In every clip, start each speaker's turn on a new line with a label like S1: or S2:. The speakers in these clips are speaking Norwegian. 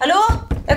S1: Hallo? Jeg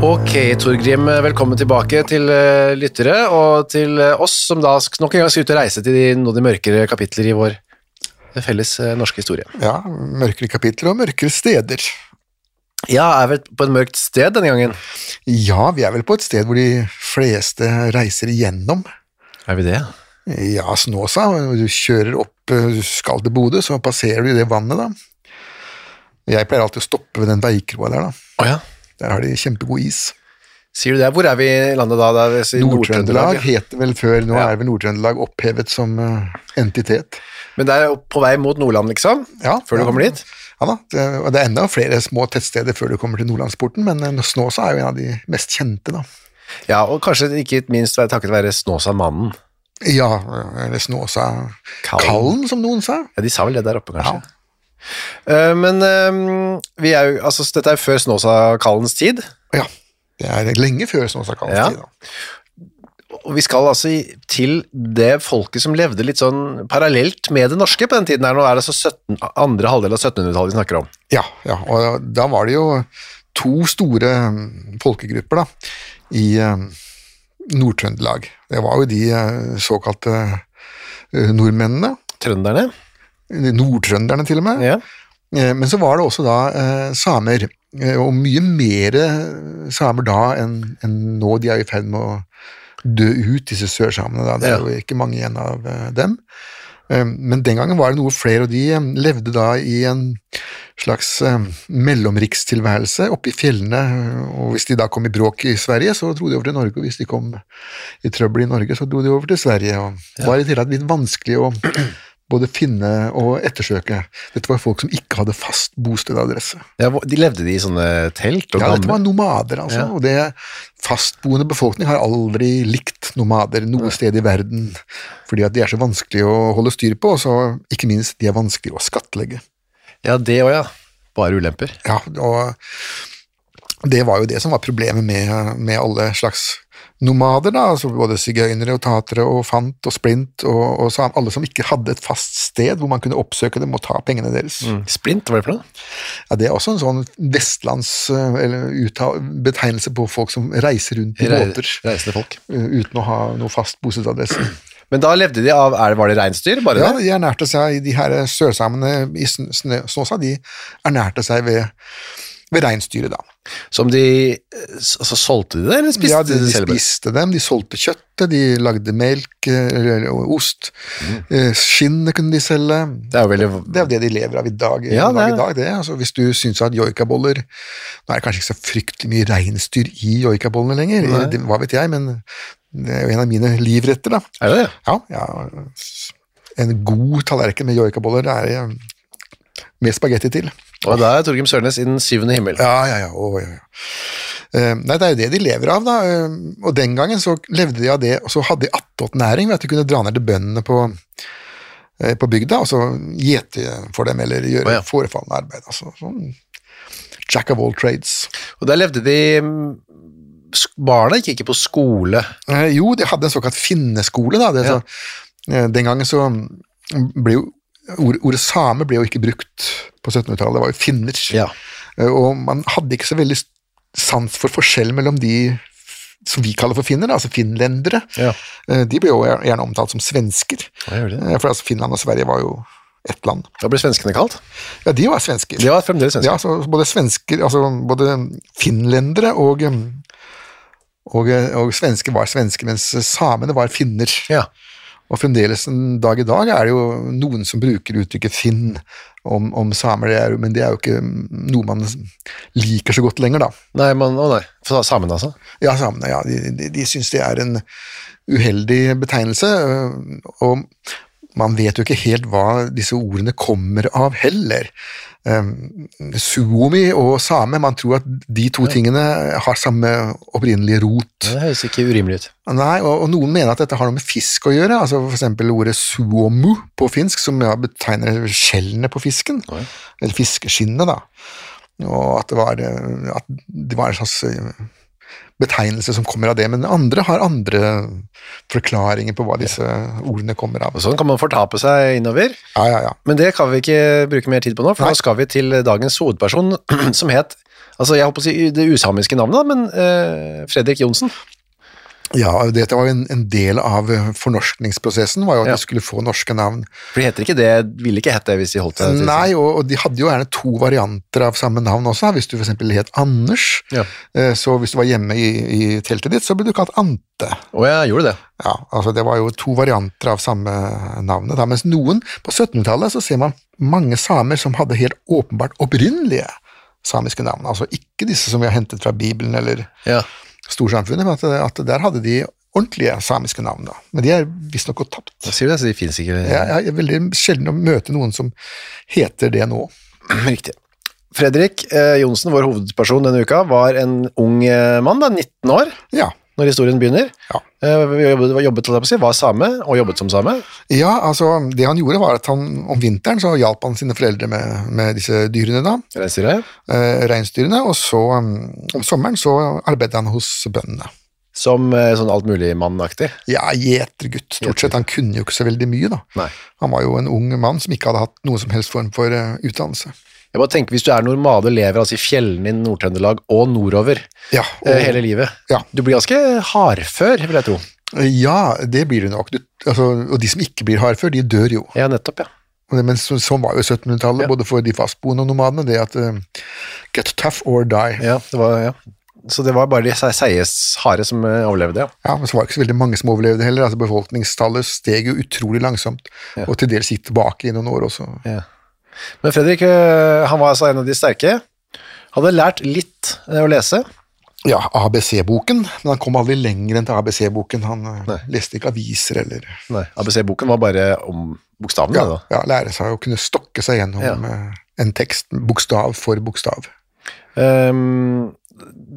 S2: Ok, Torgrim, velkommen tilbake til eh, lyttere og til eh, oss som da sk- nok en gang skal ut og reise til de, noen av de mørkere kapitler i vår felles eh, norske historie.
S3: Ja, mørkere kapitler og mørkere steder.
S2: Ja, er vi på et mørkt sted denne gangen?
S3: Ja, vi er vel på et sted hvor de fleste reiser igjennom.
S2: Er vi det?
S3: Ja, Snåsa. Du kjører opp, eh, du skal til Bodø, så passerer du det vannet, da. Jeg pleier alltid å stoppe ved den veikroa der, da.
S2: Å ja.
S3: Der har de kjempegod is.
S2: Sier du det? Hvor er vi i landet da? Det er i
S3: Nord-Trøndelag
S2: ja.
S3: het det vel før, nå
S2: Ja.
S3: er vel Nord-Trøndelag opphevet som eh, entitet.
S2: Men det er opp- på vei mot Nordland, liksom?
S3: Ja,
S2: Før
S3: ja.
S2: du kommer dit?
S3: Ja da, det, og det er enda flere små tettsteder før du kommer til Nordlandsporten, men eh, Snåsa er jo en av de mest kjente, da.
S2: Ja, og kanskje ikke minst være takket være Snåsamannen.
S3: Ja, eller Snåsa
S2: Kallen.
S3: Kallen, som noen sa.
S2: Ja, de sa vel det der oppe, kanskje? Eh, men eh, vi er jo, altså, dette er jo før Snåsakallens tid.
S3: Ja, det er lenge før Snåsa Kallens
S2: Ja.
S3: tid. Da.
S2: Og vi skal altså i- til det folket som levde litt sånn parallelt med det norske på den tiden her. Nå er det altså 17, andre halvdel av 1700-tallet vi snakker om.
S3: Ja, ja, og da var det jo to store mm, folkegrupper da, i eh, Nord-Trøndelag. Det var jo de eh, såkalte eh, nordmennene,
S2: Trønderne.
S3: de nordtrønderne til og med,
S2: Ja.
S3: Eh, men så var det også da eh, samer, eh, og mye mer eh, samer da enn enn nå. De er jo i ferd med å dø ut, disse sørsamene. Da. Det
S2: Ja.
S3: er jo ikke mange igjen av eh, dem. Eh, Men den gangen var det noe flere, og de eh, levde da i en slags eh, mellomrikstilværelse oppe i fjellene. Og hvis de da kom i bråk i Sverige, så dro de over til Norge, og hvis de kom i trøbbel i Norge, så dro de over til Sverige. Og det var i det hele tatt litt vanskelig å både finne og ettersøke. Dette var folk som ikke hadde fast bostedadresse.
S2: Ja, hvor- de levde de i sånne telt og
S3: Ja,
S2: gamle-
S3: dette var nomader, altså.
S2: Ja.
S3: Og det fastboende befolkning har aldri likt nomader noe sted i verden. Fordi at de er så vanskelig å holde styr på, og så ikke minst, de er vanskelig å skattlegge.
S2: Ja, det òg, ja. Bare ulemper.
S3: Ja, og det var jo det som var problemet med, med alle slags nomader, da, altså både sigøynere og tatere og fant og splint og, og sam, alle som ikke hadde et fast sted hvor man kunne oppsøke dem og ta pengene deres.
S2: Mm. Splint, hva er det for noe?
S3: Ja, Det er også en sånn vestlands eh, eller utta, betegnelse på folk som reiser rundt i
S2: Rei-
S3: båter eh,
S2: Reisende folk.
S3: uten å ha noe fast bostedsadresse.
S2: Men da levde de av er, Var det reinsdyr? Bare
S3: Ja,
S2: det?
S3: de ernærte seg, de her sørsamene i Sn- Snø- Snåsa, de ernærte seg ved, ved reinsdyret, da.
S2: Som de altså, Solgte de det, eller spiste
S3: ja, de,
S2: de
S3: de
S2: det selv?
S3: spiste dem, de solgte kjøttet, de lagde melk eh, eller, og ost.
S2: Mm.
S3: Eh, Skinnet kunne de selge.
S2: Det er jo veldig
S3: Det er jo det de lever av i dag.
S2: Ja,
S3: den
S2: det
S3: dag
S2: er-
S3: i dag det. Altså, hvis du syns at joikaboller Nå er det kanskje ikke så fryktelig mye reinsdyr i joikabollene lenger, eh, det, hva vet jeg, men det er jo en av mine livretter, da.
S2: Er det det?
S3: Ja, ja. En god tallerken med joikaboller det er eh, med spagetti til.
S2: Og da er Torgrim Sørnes i den syvende himmel.
S3: Ja, ja, ja. Å, ja, ja. Eh, nei, det er jo det de lever av, da. eh, og den gangen så levde de av det, og så hadde de attåt næring ved at de kunne dra ned til bøndene på eh, på bygda, og så gjete for dem, eller gjøre
S2: Å, ja.
S3: forefallende arbeid. Altså, sånn jack of all trades.
S2: Og der levde de mm, sk- Barna gikk ikke på skole.
S3: Eh, jo, de hadde en såkalt finneskole. Da. Det,
S2: Ja.
S3: så, eh, den gangen så mm, ble jo ord, Ordet same ble jo ikke brukt på 1700-tallet, det var jo finner.
S2: Ja.
S3: Eh, og man hadde ikke så veldig s- sans for forskjell mellom de f- som vi kaller for finner, da, altså finlendere.
S2: Ja.
S3: Eh, de ble jo gjer- gjerne omtalt som svensker,
S2: Ja, gjør de det?
S3: Eh, for altså Finland og Sverige var jo ett land.
S2: Da ble svenskene kalt.
S3: Ja, de var svensker.
S2: De var fremdeles svenske.
S3: Ja, så både svensker, altså både finlendere og, um, og, eh, og svensker var svensker, mens samene var finner.
S2: Ja.
S3: Og fremdeles en dag i dag er det jo noen som bruker uttrykket finn om, om samer, det er, jo- men det er jo ikke noe man liker så godt lenger, da.
S2: Nei, man, å nei. For samene, altså.
S3: Ja, samene, ja. De, de, de syns det er en uheldig betegnelse, øh, og man vet jo ikke helt hva disse ordene kommer av heller. Um, Suomi og same, man tror at de to tingene har samme opprinnelige rot.
S2: Det høres ikke urimelig ut.
S3: Nei, og, og noen mener at dette har noe med fisk å gjøre, altså for eksempel ordet suomu på finsk, som ja, betegner skjellene på fisken, eller fiskeskinnet da, og at det var, eh, at det var en slags eh, betegnelse som kommer av det, men andre har andre forklaringer på hva disse ordene kommer av.
S2: Og sånn kan man fortape seg innover.
S3: Ja, ja, ja.
S2: Men det kan vi ikke bruke mer tid på nå, for
S3: Nei.
S2: nå skal vi til dagens hovedperson, som het Altså, jeg holdt på å si det usamiske navnet, da, men eh, Fredrik Johnsen.
S3: Ja, og dette var jo en, en del av eh, fornorskningsprosessen, var jo at
S2: Ja.
S3: de skulle få norske navn.
S2: For de heter ikke det, ville ikke hett det hvis de holdt det. til-
S3: Nei, og, og de hadde jo gjerne to varianter av samme navn også. Hvis du f.eks. het Anders,
S2: Ja.
S3: eh, så hvis du var hjemme i, i teltet ditt, så ble du kalt Ante.
S2: Å ja, gjorde det.
S3: Ja, altså Det var jo to varianter av samme navnet. Da. Mens noen på 1700-tallet så ser man mange samer som hadde helt åpenbart opprinnelige samiske navn. Altså ikke disse som vi har hentet fra Bibelen eller
S2: Ja.
S3: storsamfunnet, men at, at der hadde de ordentlige samiske navn. da. Men de er visstnok gått tapt.
S2: Hva sier du det? Så de finnes ikke
S3: Jeg, jeg er veldig sjelden å møte noen som heter det nå.
S2: Riktig. Fredrik eh, Johnsen, vår hovedperson denne uka, var en ung eh, mann, da, 19 år,
S3: Ja,
S2: når historien begynner.
S3: Ja.
S2: Eh, vi jobbet, jobbet, holdt jeg på å si, var same, og jobbet som same.
S3: Ja, altså det han gjorde var at han om vinteren så hjalp han sine foreldre med, med disse dyrene da,
S2: Reiser jeg.
S3: eh, reinsdyrene, og så um, om sommeren så arbeidet han hos bøndene.
S2: Som eh, sånn altmuligmannaktig.
S3: Ja, gjetergutt, stort sett. Han kunne jo ikke så veldig mye da.
S2: Nei.
S3: Han var jo en ung mann som ikke hadde hatt noen som helst form for eh, utdannelse.
S2: Jeg bare tenker, Hvis du er normade og lever altså i fjellene i Nord-Trøndelag og nordover
S3: Ja, og,
S2: eh, hele livet
S3: Ja.
S2: Du blir ganske hardfør, vil jeg tro.
S3: ja det blir det nok. Du, altså, og de som ikke blir hardfør, de dør jo.
S2: Ja, nettopp, ja.
S3: Og det- Men så, sånn var jo
S2: Ja.
S3: 1700-tallet, både for de fastboende og nomadene, det at eh, get tough or die.
S2: ja, det var, ja. Så det var bare de se- seige, harde som eh, overlevde, ja.
S3: Ja, men så var det ikke så veldig mange som overlevde heller. altså Befolkningstallet steg jo utrolig langsomt,
S2: Ja.
S3: og til dels gikk tilbake i noen år også.
S2: Men Fredrik eh, han var altså en av de sterke. Hadde lært litt eh, å lese.
S3: Ja, ABC-boken, men han kom aldri lenger enn til ABC-boken. Han eh,
S2: Nei.
S3: leste ikke aviser eller
S2: ABC-boken var bare om bokstavene.
S3: ja,
S2: da.
S3: ja, lære seg å kunne stokke seg gjennom
S2: Ja.
S3: eh, en tekst bokstav for bokstav.
S2: Ehm,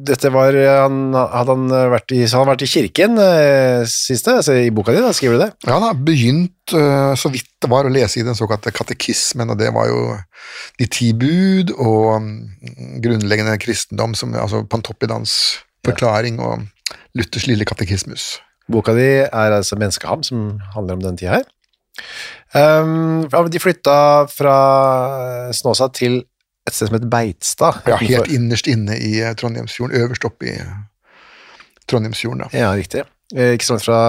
S2: dette var han, hadde han, vært i, så han hadde vært i kirken eh, siste, altså i boka di, da, skriver du det?
S3: Ja, han har begynt eh, så vidt det var å lese i den såkalte katekismen, og det var jo de ti bud og mm, grunnleggende kristendom, som, altså Pantoppidans forklaring og Luthers lille katekismus.
S2: Boka di er altså Menneskeham, som handler om denne tida her. Ehm, ja, de flytta fra Snåsa til et sted som heter Beitstad.
S3: Ja,
S2: utenfor-
S3: helt innerst inne i eh, Trondheimsfjorden, øverst oppe i eh, Trondheimsfjorden, da.
S2: Ja, riktig. Eh, Ikke så langt fra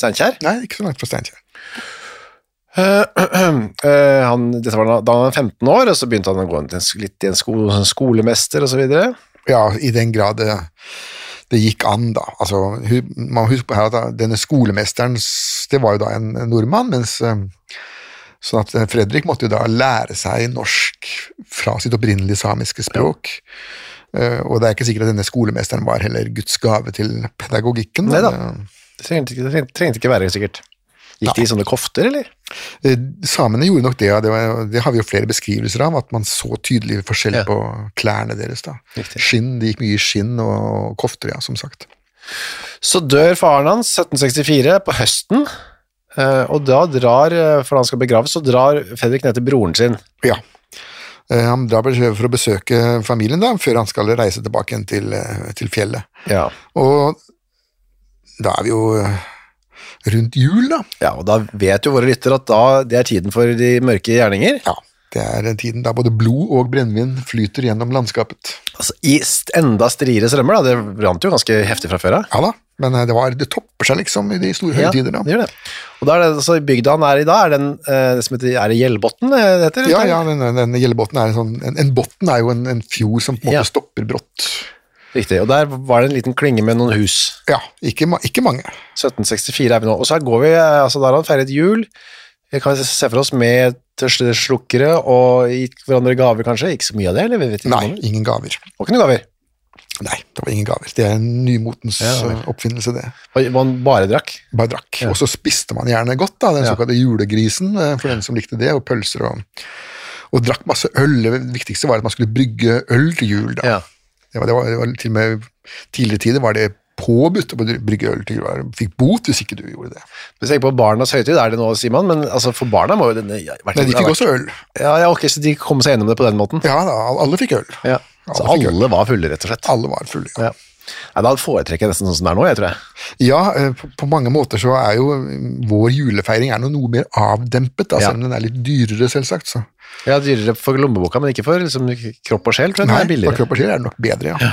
S2: Steinkjer.
S3: Nei, ikke så langt fra Steinkjer.
S2: Eh, eh, han, dette var da da han var 15 år, og så begynte han å gå til en, sk- litt i en, sko, hos en skolemester og så videre.
S3: Ja, i den grad det, det gikk an, da. Altså, hu- man må huske på her at da, denne skolemesteren, s- det var jo da en en nordmann, mens eh, Sånn at eh, Fredrik måtte jo da lære seg norsk fra sitt opprinnelige samiske språk. Eh, Og det er ikke sikkert at denne skolemesteren var heller Guds gave til pedagogikken.
S2: Neida.
S3: men, eh,
S2: Det trengte, ikke- det trengte, trengte ikke være sikkert. Gikk de i sånne kofter, eller?
S3: Eh, Samene gjorde nok det, og det, var, det har vi jo flere beskrivelser av, at man så tydelig forskjell
S2: Ja.
S3: på klærne deres. da.
S2: Riktig.
S3: Skinn, Det gikk mye i skinn og kofter, ja, som sagt.
S2: Så dør faren hans 1764 på høsten. Eh, og da drar, eh, for han skal begraves, så drar Fredrik ned til broren sin.
S3: Ja. Eh, Han drar vel for å besøke familien da, før han skal reise tilbake igjen til, eh, til fjellet.
S2: Ja.
S3: Og da er vi jo eh, rundt jul, da.
S2: ja, og da vet jo våre lytter at da, det er tiden for de mørke gjerninger.
S3: Ja, det er den tiden da både blod og brennevin flyter gjennom landskapet.
S2: Altså, I st- enda striere strømmer, da. Det rant jo ganske heftig fra før av.
S3: Ja da, men eh, det, var, det topper seg liksom i de store høytider.
S2: det
S3: da.
S2: gjør det. Og da er det, så bygda han er i da, er den, eh, det som heter, er det Gjellbotn eh, det heter?
S3: Ja, ja, den, den Gjellebotn er en sånn En, en botn er jo en, en fjord som på en måte
S2: Ja.
S3: stopper brått.
S2: Riktig, og der var det en liten klinge med noen hus.
S3: Ja, ikke, ma- ikke mange.
S2: 1764 er vi nå. Og så her går vi, eh, altså der har han feiret jul, vi kan se for oss med tørsteslukkere og gitt hverandre gaver kanskje, ikke så mye av det, eller vi vet ikke
S3: Nei,
S2: om det.
S3: ingen gaver.
S2: Og ikke noen gaver.
S3: Nei, det var ingen gaver. Det er en nymotens
S2: Ja, vel.
S3: eh, oppfinnelse, det.
S2: Og Man bare drakk.
S3: Bare drakk. Og så spiste man gjerne godt, da, den
S2: Ja.
S3: såkalte julegrisen, eh, for den som likte det, og pølser og Og drakk masse øl. Det viktigste var at man skulle brygge øl til jul, da.
S2: Ja.
S3: Det var, det var, det var til og med tidligere tider var det påbudt å brygge øl til jul. Du Fikk bot hvis ikke du gjorde det.
S2: Hvis jeg tenker på barnas høytid, er det nå, sier man, men altså, for barna må jo denne... Vært,
S3: Men de fikk også øl.
S2: Ja, ja, ok, så de kom seg gjennom det på den måten.
S3: Ja da, alle fikk øl.
S2: Ja. Så
S3: Alle fikk øl.
S2: alle var fulle, rett og slett.
S3: Alle var fulle. Ja,
S2: Ja. Nei, da foretrekker jeg nesten sånn som det er nå, jeg tror jeg.
S3: ja eh, på, på mange måter så er jo eh, vår julefeiring er noe, noe mer avdempet, da,
S2: Ja.
S3: selv om den er litt dyrere, selvsagt. Så.
S2: Jeg har dyrere for lommeboka, men ikke for liksom, kropp og sjel, tror jeg. Nei, er
S3: for
S2: billigere.
S3: kropp og sjel er det nok bedre, ja.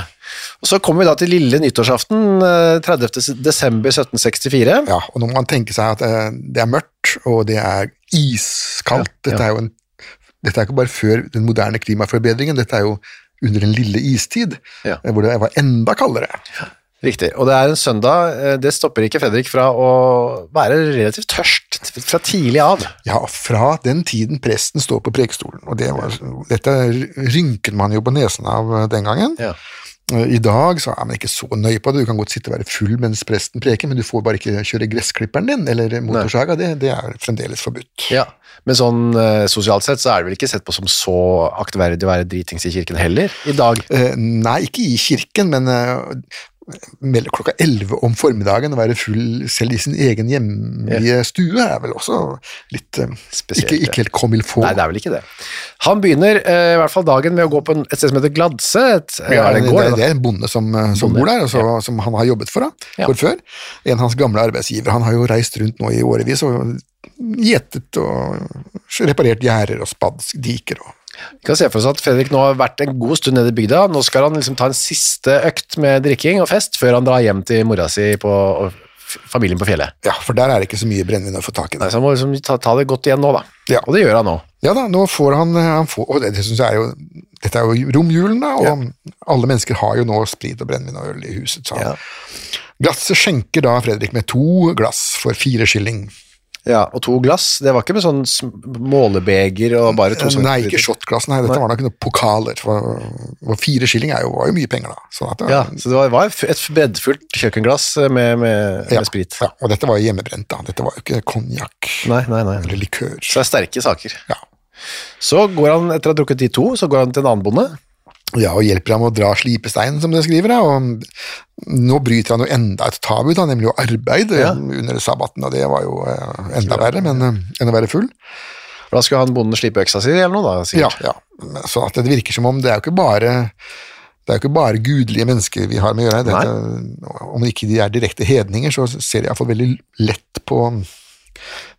S2: Og så kommer vi da til lille nyttårsaften, eh, 30. desember 1764.
S3: ja. Og når man tenker seg at eh, det er mørkt, og det er iskaldt
S2: Ja, ja.
S3: Dette er jo en, dette er ikke bare før den moderne klimaforbedringen, dette er jo under den lille istid,
S2: Ja.
S3: eh, hvor det var enda kaldere.
S2: Riktig. Og det er en søndag, eh, det stopper ikke Fredrik fra å være relativt tørst t- fra tidlig av.
S3: Ja, fra den tiden presten står på prekestolen. Og det var, dette rynket man jo på nesen av eh, den gangen.
S2: Ja.
S3: Eh, I dag så er man ikke så nøye på det. Du kan godt sitte og være full mens presten preker, men du får bare ikke kjøre gressklipperen din eller motorsaga. Det, det er fremdeles forbudt.
S2: Men sånn eh, sosialt sett så er det vel ikke sett på som så aktverdig å være dritings i kirken heller, i dag.
S3: Eh, Nei, ikke i kirken, men eh, mellom klokka 11 om formiddagen å være full selv i sin egen hjemlige stue er vel også litt eh,
S2: Spesielt,
S3: Ikke, ikke helt comme il faut.
S2: Nei, det er vel ikke det. Han begynner eh, i hvert fall dagen med å gå på en, et sted som heter Gladse. Et,
S3: Ja,
S2: er det,
S3: det,
S2: en gård,
S3: det,
S2: da?
S3: det er en bonde som, eh, som
S2: Bonde,
S3: bor der, og så, som han har jobbet for, da,
S2: Ja.
S3: for før. En av hans gamle arbeidsgivere. Han har jo reist rundt nå i årevis og gjetet og reparert gjerder og spadd diker. Og,
S2: Vi kan se for oss at Fredrik nå har vært en god stund nede i bygda. Nå skal han liksom ta en siste økt med drikking og fest før han drar hjem til mora si på, og f- familien på fjellet.
S3: ja, for der er det ikke så mye brennevin å få tak i.
S2: Nei,
S3: Der.
S2: Så han må liksom ta, ta det godt igjen nå, da.
S3: Ja.
S2: Og det gjør han nå.
S3: Ja da, nå får han, eh, han får, og det, det synes jeg er jo, Dette er jo romjulen, da, og alle mennesker har jo nå sprit og brennevin og øl i huset. Så. han- Glasset skjenker da Fredrik med to glass for fire skilling.
S2: Ja, Og to glass. Det var ikke med sånn sm- målebeger og bare to sånne-
S3: Eh, Nei, ikke shotglass, nei, dette var nok noen pokaler. For, for fire skilling er jo, var jo mye penger, da. Så at, eh,
S2: Ja, så det var, var f- et breddfullt kjøkkenglass med, med,
S3: ja,
S2: med sprit.
S3: Ja, og dette var jo hjemmebrent, da. Dette var jo ikke konjakk
S2: Nei, nei, nei.
S3: eller likør.
S2: Så det er sterke saker.
S3: Ja.
S2: Så går han, etter å ha drukket de to, så går han til en annen bonde.
S3: ja, og hjelper ham å dra slipesteinen, som det skriver. Da. Og nå bryter han jo enda et tabu, da, nemlig å arbeide
S2: Ja.
S3: under sabbaten, og det var jo eh, enda verre, men eh, enn å være full.
S2: For da skulle han bonden slipe øksa si eller noe, da.
S3: Ja,
S2: sikkert.
S3: ja. Men Så at det virker som om det er jo ikke bare det er jo ikke bare gudelige mennesker vi har med å gjøre. Dette, om ikke de er direkte hedninger, så ser de iallfall veldig lett på um,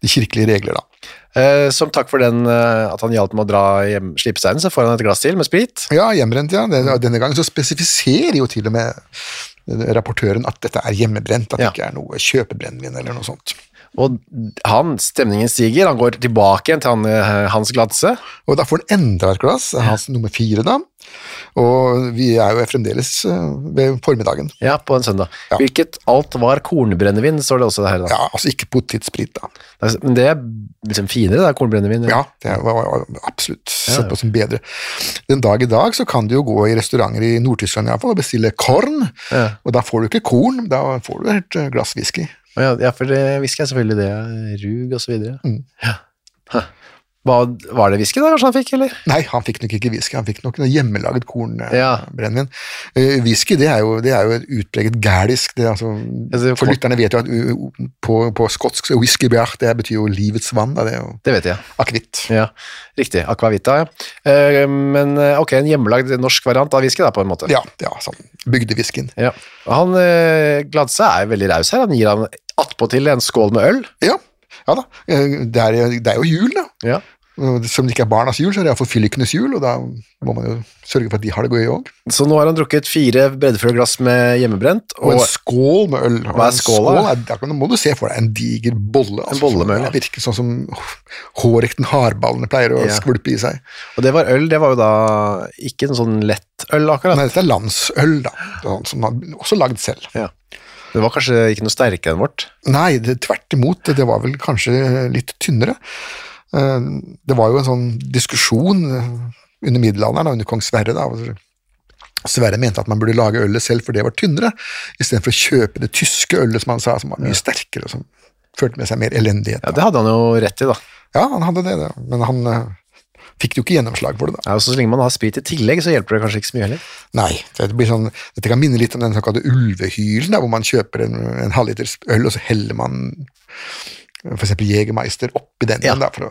S3: de kirkelige regler, da.
S2: Eh, som takk for den, eh, at han hjalp med å dra hjem slipesteinen, så får han et glass til med sprit.
S3: Ja, hjemmebrent, ja. Den- Denne gangen så spesifiserer jo til og med eh, rapportøren at dette er hjemmebrent, at
S2: Ja.
S3: det ikke er noe kjøpebrennevin eller noe sånt.
S2: Og han, stemningen stiger, han går tilbake igjen til han, eh, Hans Gladse.
S3: Og da får han enda et glass, eh, hans nummer fire, da. Og vi er jo fremdeles eh, ved formiddagen.
S2: Ja, på en søndag.
S3: Ja.
S2: Hvilket alt var kornbrennevin, står det også her. Da.
S3: Ja, altså ikke potetsprit, da.
S2: Det er- Men det er liksom finere, da, kornbrennevin.
S3: Ja, det var var absolutt
S2: Ja,
S3: sett på som bedre. Den dag i dag så kan du jo gå i restauranter i Nord-Tyskland i hvert fall og bestille korn,
S2: Ja.
S3: og da får du ikke korn, da får du et eh, glass whisky. Mm.
S2: Ja, ja, for det hvisker jeg selvfølgelig det. Rug og så videre. Ja. Hæ. Hva, var det whisky da kanskje han fikk, eller?
S3: Nei, han fikk nok ikke whisky, han fikk nok noe hjemmelaget
S2: Ja.
S3: kornbrennevin. Eh, whisky det er, jo, det er jo et utpreget gælisk det, er altså,
S2: det-
S3: For lytterne vet jo at u- u- på, på skotsk så er whisky bjart, det betyr jo livets vann. Da, det er jo
S2: Det vet jeg.
S3: akevitt.
S2: Ja, riktig. Aquavita, ja. Eh, Men eh, ok, en hjemmelagd norsk variant av whisky da, på en måte.
S3: Ja, ja, sånn bygdevisken.
S2: Ja. Og Han eh, Gladse er veldig raus her. Han gir han attpåtil en skål med øl.
S3: Ja, ja da. Eh, Det er, det er jo jul, da.
S2: Ja.
S3: Og Som det ikke er barnas jul, så er det iallfall fyllekenes jul, og da må man jo sørge for at de har det gøy òg.
S2: Så nå har han drukket fire breddfulle glass med hjemmebrent og
S3: Og en skål med øl. Og
S2: Hva er
S3: en
S2: skåla?
S3: skål er- da kan- må du se for deg en diger bolle. altså,
S2: bolle med øl,
S3: som-
S2: ja.
S3: Det virker sånn som Hårekten Harballene pleier å
S2: Ja.
S3: skvulpe i seg.
S2: Og det var øl, det var jo da ikke en sånn lett øl akkurat.
S3: Nei, dette er landsøl, da. Sånn Som man også lagd selv.
S2: Ja. Det var kanskje ikke noe sterkere enn vårt.
S3: Nei, det, tvert imot. Det var vel kanskje litt tynnere. Eh, Det var jo en sånn diskusjon eh, under middelalderen, da, under kong Sverre. da, hvor Sverre mente at man burde lage ølet selv, for det var tynnere, istedenfor å kjøpe det tyske ølet, som han sa, som var mye sterkere, og som førte med seg mer elendighet.
S2: Ja,
S3: da.
S2: det hadde han jo rett i da.
S3: Ja, han hadde det, det. men han eh, fikk jo ikke gjennomslag for det, da.
S2: Ja, og så lenge man har sprit i tillegg, så hjelper det kanskje ikke så mye heller.
S3: Nei, det blir sånn, Dette kan minne litt om den såkalte ulvehylen, da, hvor man kjøper en, en halvliters øl, og så heller man f.eks. Jegermeister oppi den
S2: Ja.
S3: igjen, da, for å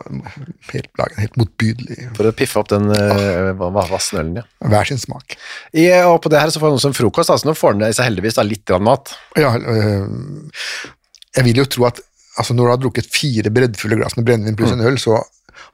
S3: helt, lage en helt motbydelig
S2: For å piffe opp den eh, va- va- vassen ølen, ja.
S3: hver sin smak.
S2: I, og på det her så får han også en frokost, da, så nå får han i seg heldigvis da litt grann mat.
S3: Ja, øh, jeg vil jo tro at altså, når du har drukket fire breddfulle glass med brennevin
S2: Mm.
S3: pluss en øl, så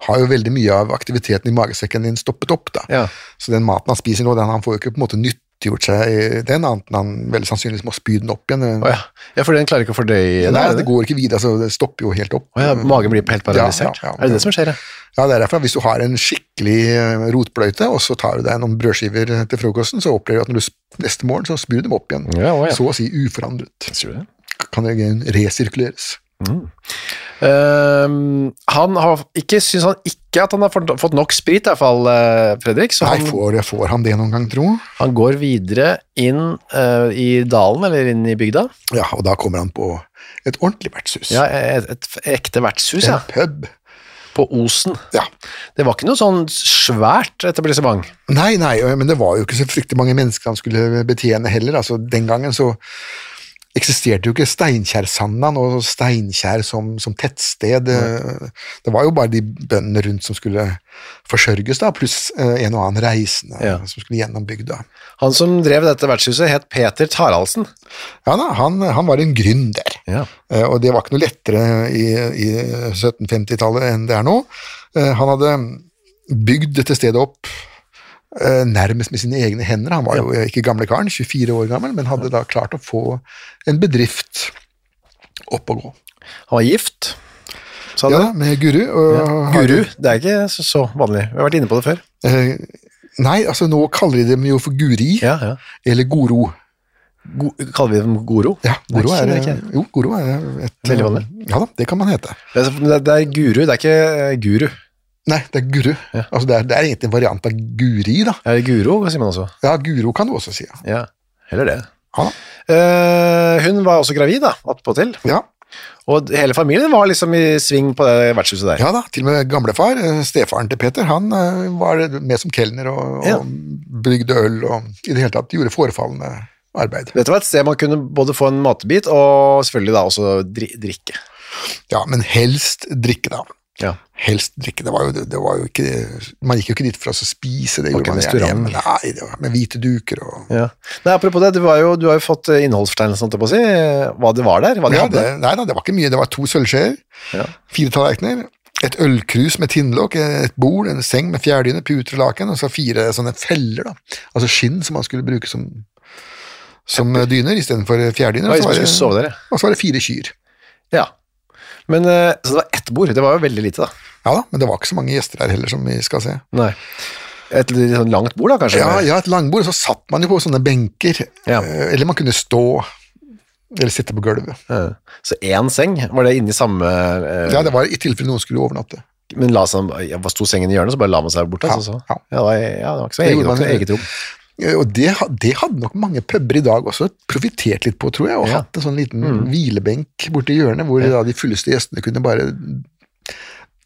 S3: har jo veldig mye av aktiviteten i magesekken din stoppet opp. da.
S2: Ja.
S3: Så den maten han spiser nå, den, han får jo ikke på en måte nyttiggjort seg den, annet enn han veldig sannsynligvis må spy den opp igjen. øh,
S2: Å ja. ja, for den klarer ikke å fordøye
S3: Nei,
S2: er
S3: det går ikke videre, så det stopper jo helt opp.
S2: Å ja, magen blir helt paralysert.
S3: Mm. Ja, ja, ja.
S2: Er det det som skjer, ja?
S3: Ja, det er derfor Hvis du har en skikkelig eh, rotbløyte, og så tar du deg noen brødskiver til frokosten, så opplever du at når du sp- neste morgen så spyr du dem opp igjen.
S2: Ja, å ja.
S3: Så å si uforandret.
S2: Tror du det?
S3: Kan det resirkuleres?
S2: Ehm, han har ikke, synes han ikke at han har fått fått nok sprit, i hvert fall, eh, Fredrik. Så
S3: Nei,
S2: han,
S3: får, får han det noen gang, tro?
S2: han går videre inn eh, i dalen, eller inn i bygda.
S3: Ja, og da kommer han på et ordentlig vertshus.
S2: Ja, et, et ekte vertshus, ja.
S3: En pub.
S2: På Osen.
S3: Ja.
S2: Det var ikke noe sånn svært etablissement.
S3: Nei, nei, men det var jo ikke så fryktelig mange mennesker han skulle betjene heller. Altså, den gangen så eksisterte jo ikke Steinkjersandan og Steinkjer som, som tettsted. Det var jo bare de bøndene rundt som skulle forsørges, da, pluss eh, en og annen reisende
S2: Ja.
S3: som skulle gjennom bygda.
S2: Han som drev dette vertshuset, het Peter Taraldsen.
S3: Ja da, han, han var en gründer.
S2: Ja.
S3: Eh, Og det var ikke noe lettere i, i 1750-tallet enn det er nå. Eh, Han hadde bygd dette stedet opp eh, nærmest med sine egne hender. Han var jo ikke gamle karen, 24 år gammel, men hadde da klart å få en bedrift opp og gå.
S2: Han var gift. Sa du?
S3: Ja, da, med Guru. Og har-
S2: Guru. Det er ikke så, så vanlig. Vi har vært inne på det før.
S3: Eh, Nei, altså nå kaller de dem jo for Guri,
S2: Ja, ja.
S3: eller Goro.
S2: Go kaller vi dem Goro?
S3: Ja, Goro
S2: Nei,
S3: er, eh,
S2: det er ikke-
S3: jo, Goro er et
S2: Veldig vanlig.
S3: Ja da, det kan man hete.
S2: Det er, det er- det er Guru, det er ikke eh, Guru.
S3: Nei, det er Guru. Altså, det, er, det er egentlig en variant av Guri, da.
S2: Ja, Guro, sier man også.
S3: Ja, Guro kan du også si. ja.
S2: Ja, heller det.
S3: Ja da.
S2: Eh, hun var også gravid, da, attpåtil.
S3: Ja,
S2: Og hele familien var liksom i sving på det vertshuset der.
S3: ja da, til og med gamlefar, eh, stefaren til Peter, han eh, var med som kelner og, og
S2: Ja.
S3: brygde øl og i det hele tatt gjorde forefallende arbeid.
S2: Dette var et sted man kunne både få en matbit og selvfølgelig da også dri drikke.
S3: Ja, men helst drikke, da.
S2: Ja.
S3: Helst drikke, det var jo, det var jo ikke Man gikk jo ikke dit for å spise,
S2: Det var
S3: det gjorde man
S2: ikke
S3: gjerne
S2: restaurant.
S3: hjemme. Nei, det var med hvite duker og
S2: Ja. Nei, apropos det, du, var jo, du har jo fått eh, innholdsfortegnelsen, holdt jeg på å si. eh, Hva det var der, hva de
S3: ja, det,
S2: hadde.
S3: Nei da, det var ikke mye. Det var to sølvskjeer,
S2: Ja.
S3: fire tallerkener, et ølkrus med tinnlokk, et bord, en seng med fjærdyne, puter og laken, og så fire sånne feller, da. Altså skinn som man skulle bruke som, som dyner istedenfor
S2: Det
S3: fjærdyner.
S2: var
S3: Og
S2: hvis man
S3: så var
S2: skulle
S3: det-
S2: sove der, ja.
S3: og så var det fire kyr.
S2: ja. Men, eh, så det var ett bord, det var jo veldig lite da.
S3: Ja da, men det var ikke så mange gjester der heller, som vi skal se.
S2: Nei. Et litt sånn langt bord da, kanskje?
S3: Ja, ja, et langbord, så satt man jo på sånne benker,
S2: Ja.
S3: eh, eller man kunne stå, eller sitte på gulvet.
S2: Ja. Så én seng, var det inne i samme eh,
S3: Ja, det var i tilfelle noen skulle overnatte.
S2: Men la seg, jeg bare sto sengen i hjørnet, så bare la man seg borte.
S3: Ja,
S2: altså, så.
S3: ja.
S2: Ja, det, var- ja, det var ikke så
S3: Det
S2: eget,
S3: gjorde
S2: det var ikke
S3: man.
S2: noe eget rom.
S3: Eh, Og det, ha- det hadde nok mange puber i dag også profitert litt på, tror jeg, og
S2: Ja. Mm.
S3: hatt en sånn liten hvilebenk borti hjørnet, hvor da de fulleste gjestene kunne bare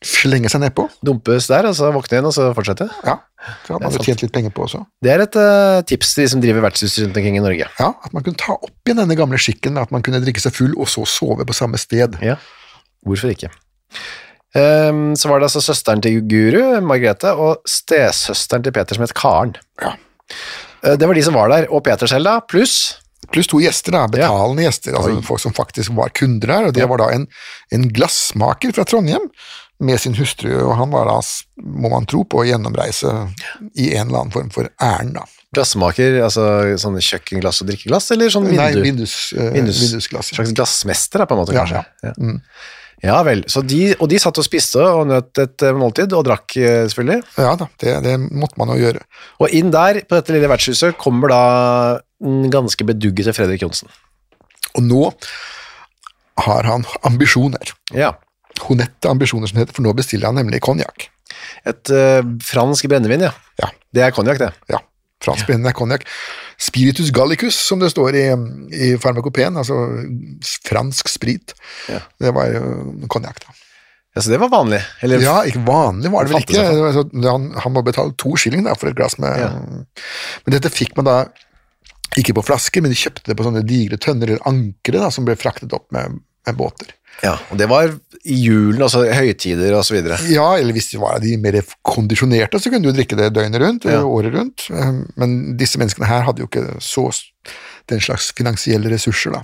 S3: slenge seg nedpå.
S2: Dumpes der, og så våkne igjen, og så fortsette.
S3: Ja, det hadde man jo
S2: sant.
S3: tjent litt penger på også.
S2: Det er et eh, tips til de som driver vertshus rundt omkring i Norge.
S3: Ja, At man kunne ta opp igjen denne gamle skikken med at man kunne drikke seg full og så sove på samme sted.
S2: Ja, hvorfor ikke? Ehm, så var det altså søsteren til Guru, Margrethe, og stesøsteren til Peter som het Karen. Eh, Det var de som var der, og Peter selv da, pluss
S3: Pluss to gjester, da, betalende gjester, altså folk som faktisk var kunder her. og Det var da en, en glassmaker fra Trondheim med sin hustru, og han var da, s- må man tro, på gjennomreise i en eller annen form for ærend, da.
S2: glassmaker, altså sånn kjøkkenglass og drikkeglass, eller sånn vindu?
S3: Nei, vindus, eh,
S2: Vindus-
S3: vindusglass.
S2: Slags glassmester, da, på en måte,
S3: Ja,
S2: kanskje.
S3: ja. Mm.
S2: Ja. Ja, vel. Så de, og de satt og spiste og nøt et eh, måltid, og drakk, eh, selvfølgelig.
S3: Ja da, det, det måtte man jo gjøre.
S2: Og inn der, på dette lille vertshuset, kommer da den ganske beduggete Fredrik Jonsen.
S3: Og nå har han ambisjoner.
S2: Ja.
S3: Honette ambisjoner, som det heter, for nå bestiller han nemlig konjakk.
S2: Et eh, fransk brennevin, ja.
S3: Ja.
S2: Det er konjakk, det.
S3: Ja, fransk brennende konjakk. Spiritus gallicus, som det står i, i farmakopeen, altså fransk sprit. Det var jo konjakk, da.
S2: Ja, så det var vanlig. Eller,
S3: Ja, ikke vanlig var det vel
S2: Fattig,
S3: ikke. Det var sånn- Han, han må betale to skilling da, for et glass med
S2: Ja.
S3: Men dette fikk man da ikke på flasker, men de kjøpte det på sånne digre tønner eller ankre da, som ble fraktet opp med, med båter.
S2: Ja, og det var i julen, altså høytider og så videre.
S3: Ja, eller hvis de var de mer kondisjonerte, så kunne du jo drikke det døgnet rundt,
S2: Ja.
S3: eh, året rundt. Eh, Men disse menneskene her hadde jo ikke så s- den slags finansielle ressurser, da.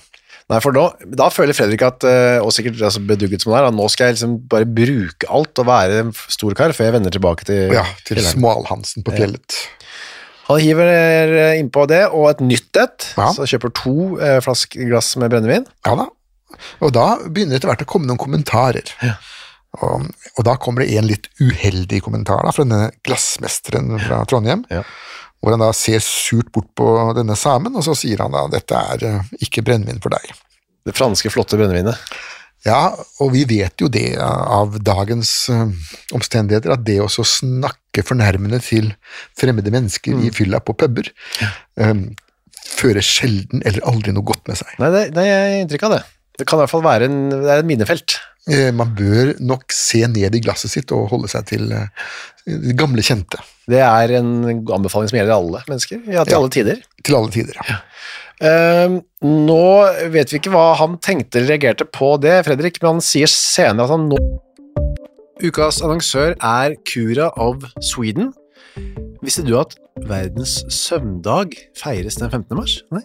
S2: Nei, for nå, da føler Fredrik at, eh, og sikkert altså, bedugget som han er, at nå skal jeg liksom bare bruke alt og være en f- stor kar før jeg vender tilbake til...
S3: Ja, til
S2: til-
S3: Smalhansen på fjellet.
S2: Han hiver eh, innpå det, og et nytt et,
S3: Ja.
S2: så kjøper to eh, flask glass med brennevin.
S3: Ja da. Og da begynner det etter hvert å komme noen kommentarer. Og, og da kommer det en litt uheldig kommentar da, fra denne glassmesteren fra Trondheim,
S2: Ja.
S3: hvor han da ser surt bort på denne samen, og så sier han da dette er eh, ikke brennevin for deg.
S2: Det franske flotte brennevinet.
S3: Ja, og vi vet jo det av dagens eh, omstendigheter, at det også å snakke fornærmende til fremmede mennesker
S2: Mm.
S3: i fylla på puber, eh, fører sjelden eller aldri noe godt med seg.
S2: Nei, det, det er inntrykk av det. Det kan i hvert fall være en, det er et minefelt.
S3: Eh, Man bør nok se ned i glasset sitt og holde seg til eh, de gamle kjente.
S2: Det er en anbefaling som gjelder alle mennesker, ja, til
S3: Ja.
S2: alle tider.
S3: Til alle tider, ja.
S2: Eh, nå vet vi ikke hva han tenkte eller reagerte på det, Fredrik, men han sier senere at han nå Ukas annonsør er Cura of Sweden. Visste du at verdens søvndag feires den 15. mars? Nei.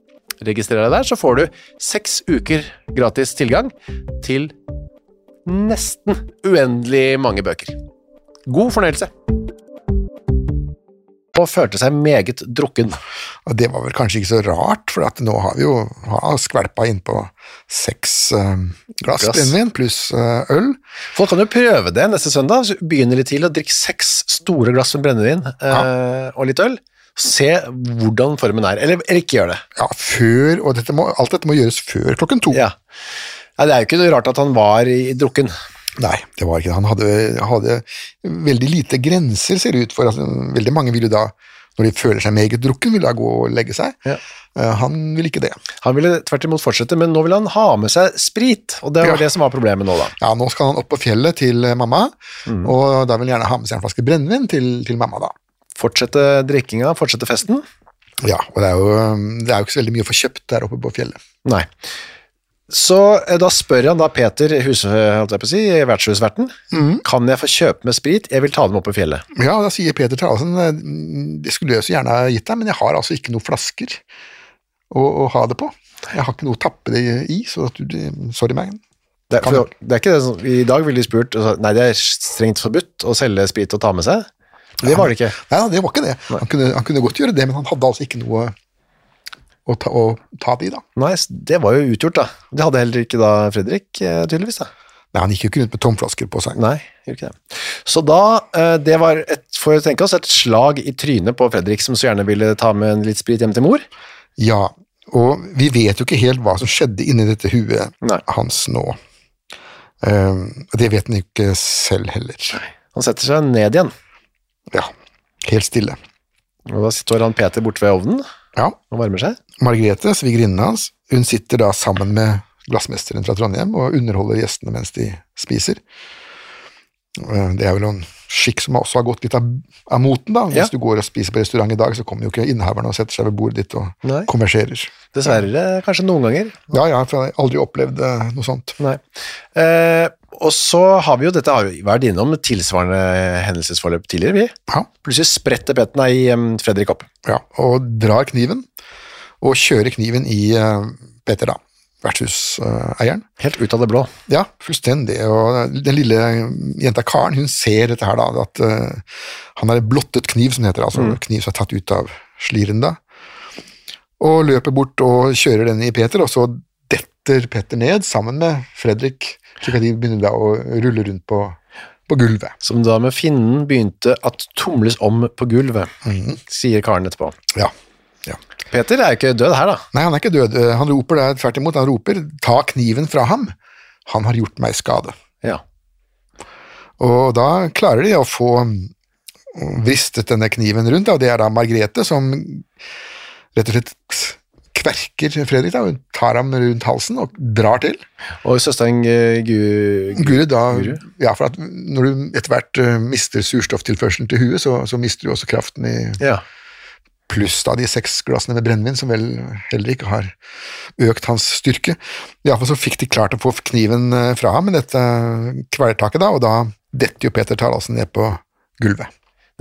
S2: Registrer deg der, så får du seks uker gratis tilgang til nesten uendelig mange bøker. God fornøyelse! Og følte seg meget drukken.
S3: Og det var vel kanskje ikke så rart, for at nå har vi jo har skvelpa innpå seks eh, glass
S2: Glass.
S3: brennevin pluss eh, øl.
S2: Folk kan jo prøve det neste søndag. så Begynne litt tidlig og drikke seks store glass med brennevin eh, og litt øl. Se hvordan formen er. Eller, eller ikke gjør det.
S3: Ja, før, og dette må, alt dette må gjøres før klokken to.
S2: Ja. Nei, det er jo ikke noe rart at han var i, drukken.
S3: Nei, det var ikke det. Han hadde, hadde veldig lite grenser, ser det ut for. Altså, veldig mange vil jo da, når de føler seg meget drukken, vil da gå og legge seg.
S2: Ja.
S3: Eh, Han vil ikke det.
S2: Han ville tvert imot fortsette, men nå vil han ha med seg sprit. Og det var
S3: Ja.
S2: det som var problemet nå, da.
S3: Ja, nå skal han opp på fjellet til eh, mamma, og da vil han gjerne ha med seg en flaske brennevin til, til mamma, da.
S2: Fortsette drikkinga, fortsette festen.
S3: Ja, og det er, jo, eh, det er jo ikke så veldig mye å få kjøpt der oppe på fjellet.
S2: Nei. Så eh, da spør han da Peter, hus, holdt jeg på å si, vertshusverten, kan jeg få kjøpe med sprit? Jeg vil ta dem opp på fjellet.
S3: Ja, da sier Peter Thalesen eh, det skulle jeg så gjerne ha gitt deg, men jeg har altså ikke noen flasker å, å ha det på. Jeg har ikke noe å tappe det i, så at du, sorry meg.
S2: Det, er-
S3: Kan
S2: for, det er ikke det som, I dag ville de spurt altså, Nei, det er strengt forbudt å selge sprit og ta med seg. Det var det ikke.
S3: Nei, det var ikke det. Han kunne, han kunne godt gjøre det, men han hadde altså ikke noe å ta, å ta det i, da.
S2: Nei, s- Det var jo utgjort, da. Det hadde heller ikke da Fredrik, eh, tydeligvis. da.
S3: Nei, han gikk jo ikke rundt med tomflasker på seg.
S2: Nei, gjorde ikke det. Så da, eh, det var et, får vi tenke oss, et slag i trynet på Fredrik, som så gjerne ville ta med en litt sprit hjem til mor.
S3: Ja, og vi vet jo ikke helt hva som skjedde inni dette huet
S2: Nei.
S3: hans nå. Ehm, og det vet han jo ikke selv heller.
S2: Han setter seg ned igjen,
S3: Ja, helt stille.
S2: og da står han Peter borte ved ovnen
S3: Ja,
S2: og varmer seg.
S3: Margrethe, svigerinnen hans, hun sitter da sammen med glassmesteren fra Trondheim og underholder gjestene mens de spiser. Eh, Det er vel en skikk som også har gått litt av, av moten, da. Hvis
S2: Ja.
S3: du går og spiser på restaurant i dag, så kommer jo ikke innehaveren og setter seg ved bordet ditt og
S2: Nei.
S3: konverserer.
S2: Dessverre, kanskje noen ganger.
S3: Ja, ja, for jeg har aldri opplevd eh, noe sånt.
S2: Nei. Eh, og så har vi jo, dette har vi vært innom tilsvarende hendelsesforløp tidligere, vi.
S3: Ja,
S2: Plutselig spretter Petter, nei, em, Fredrik opp.
S3: ja. Og drar kniven, og kjører kniven i eh, Peter, da, vertshuseieren.
S2: Helt ut av det blå.
S3: Ja, fullstendig. Og den lille jenta Karen hun ser dette her, da, at eh, han har en blottet kniv, som det heter. altså Kniv som er tatt ut av sliren. da. Og løper bort og kjører den i Peter, og så detter Petter ned sammen med Fredrik. Slik at de begynner da å rulle rundt på, på gulvet.
S2: Som da med finnen begynte at tumles om på gulvet,
S3: Mhm.
S2: sier Karen etterpå.
S3: Ja. ja.
S2: Peter er jo ikke død her, da.
S3: Nei, han er ikke død. Eh, Han roper der, tvert imot. Han roper 'ta kniven fra ham'. Han har gjort meg skade.
S2: Ja.
S3: Og da klarer de å få mm, vristet denne kniven rundt, da, og det er da Margrethe som rett og slett kverker Fredrik. Da. Hun tar ham rundt halsen og drar til.
S2: Og søsteren eh, Gu... Gu-
S3: Guri, da,
S2: Guri?
S3: ja, for at Når du etter hvert eh, mister surstofftilførselen til huet, så, så mister du også kraften i
S2: Ja.
S3: pluss da de seks glassene med brennevin, som vel heller ikke har økt hans styrke. Iallfall så fikk de klart å få kniven eh, fra ham med dette eh, kvelertaket, da, og da detter jo Peter Taraldsen ned på gulvet.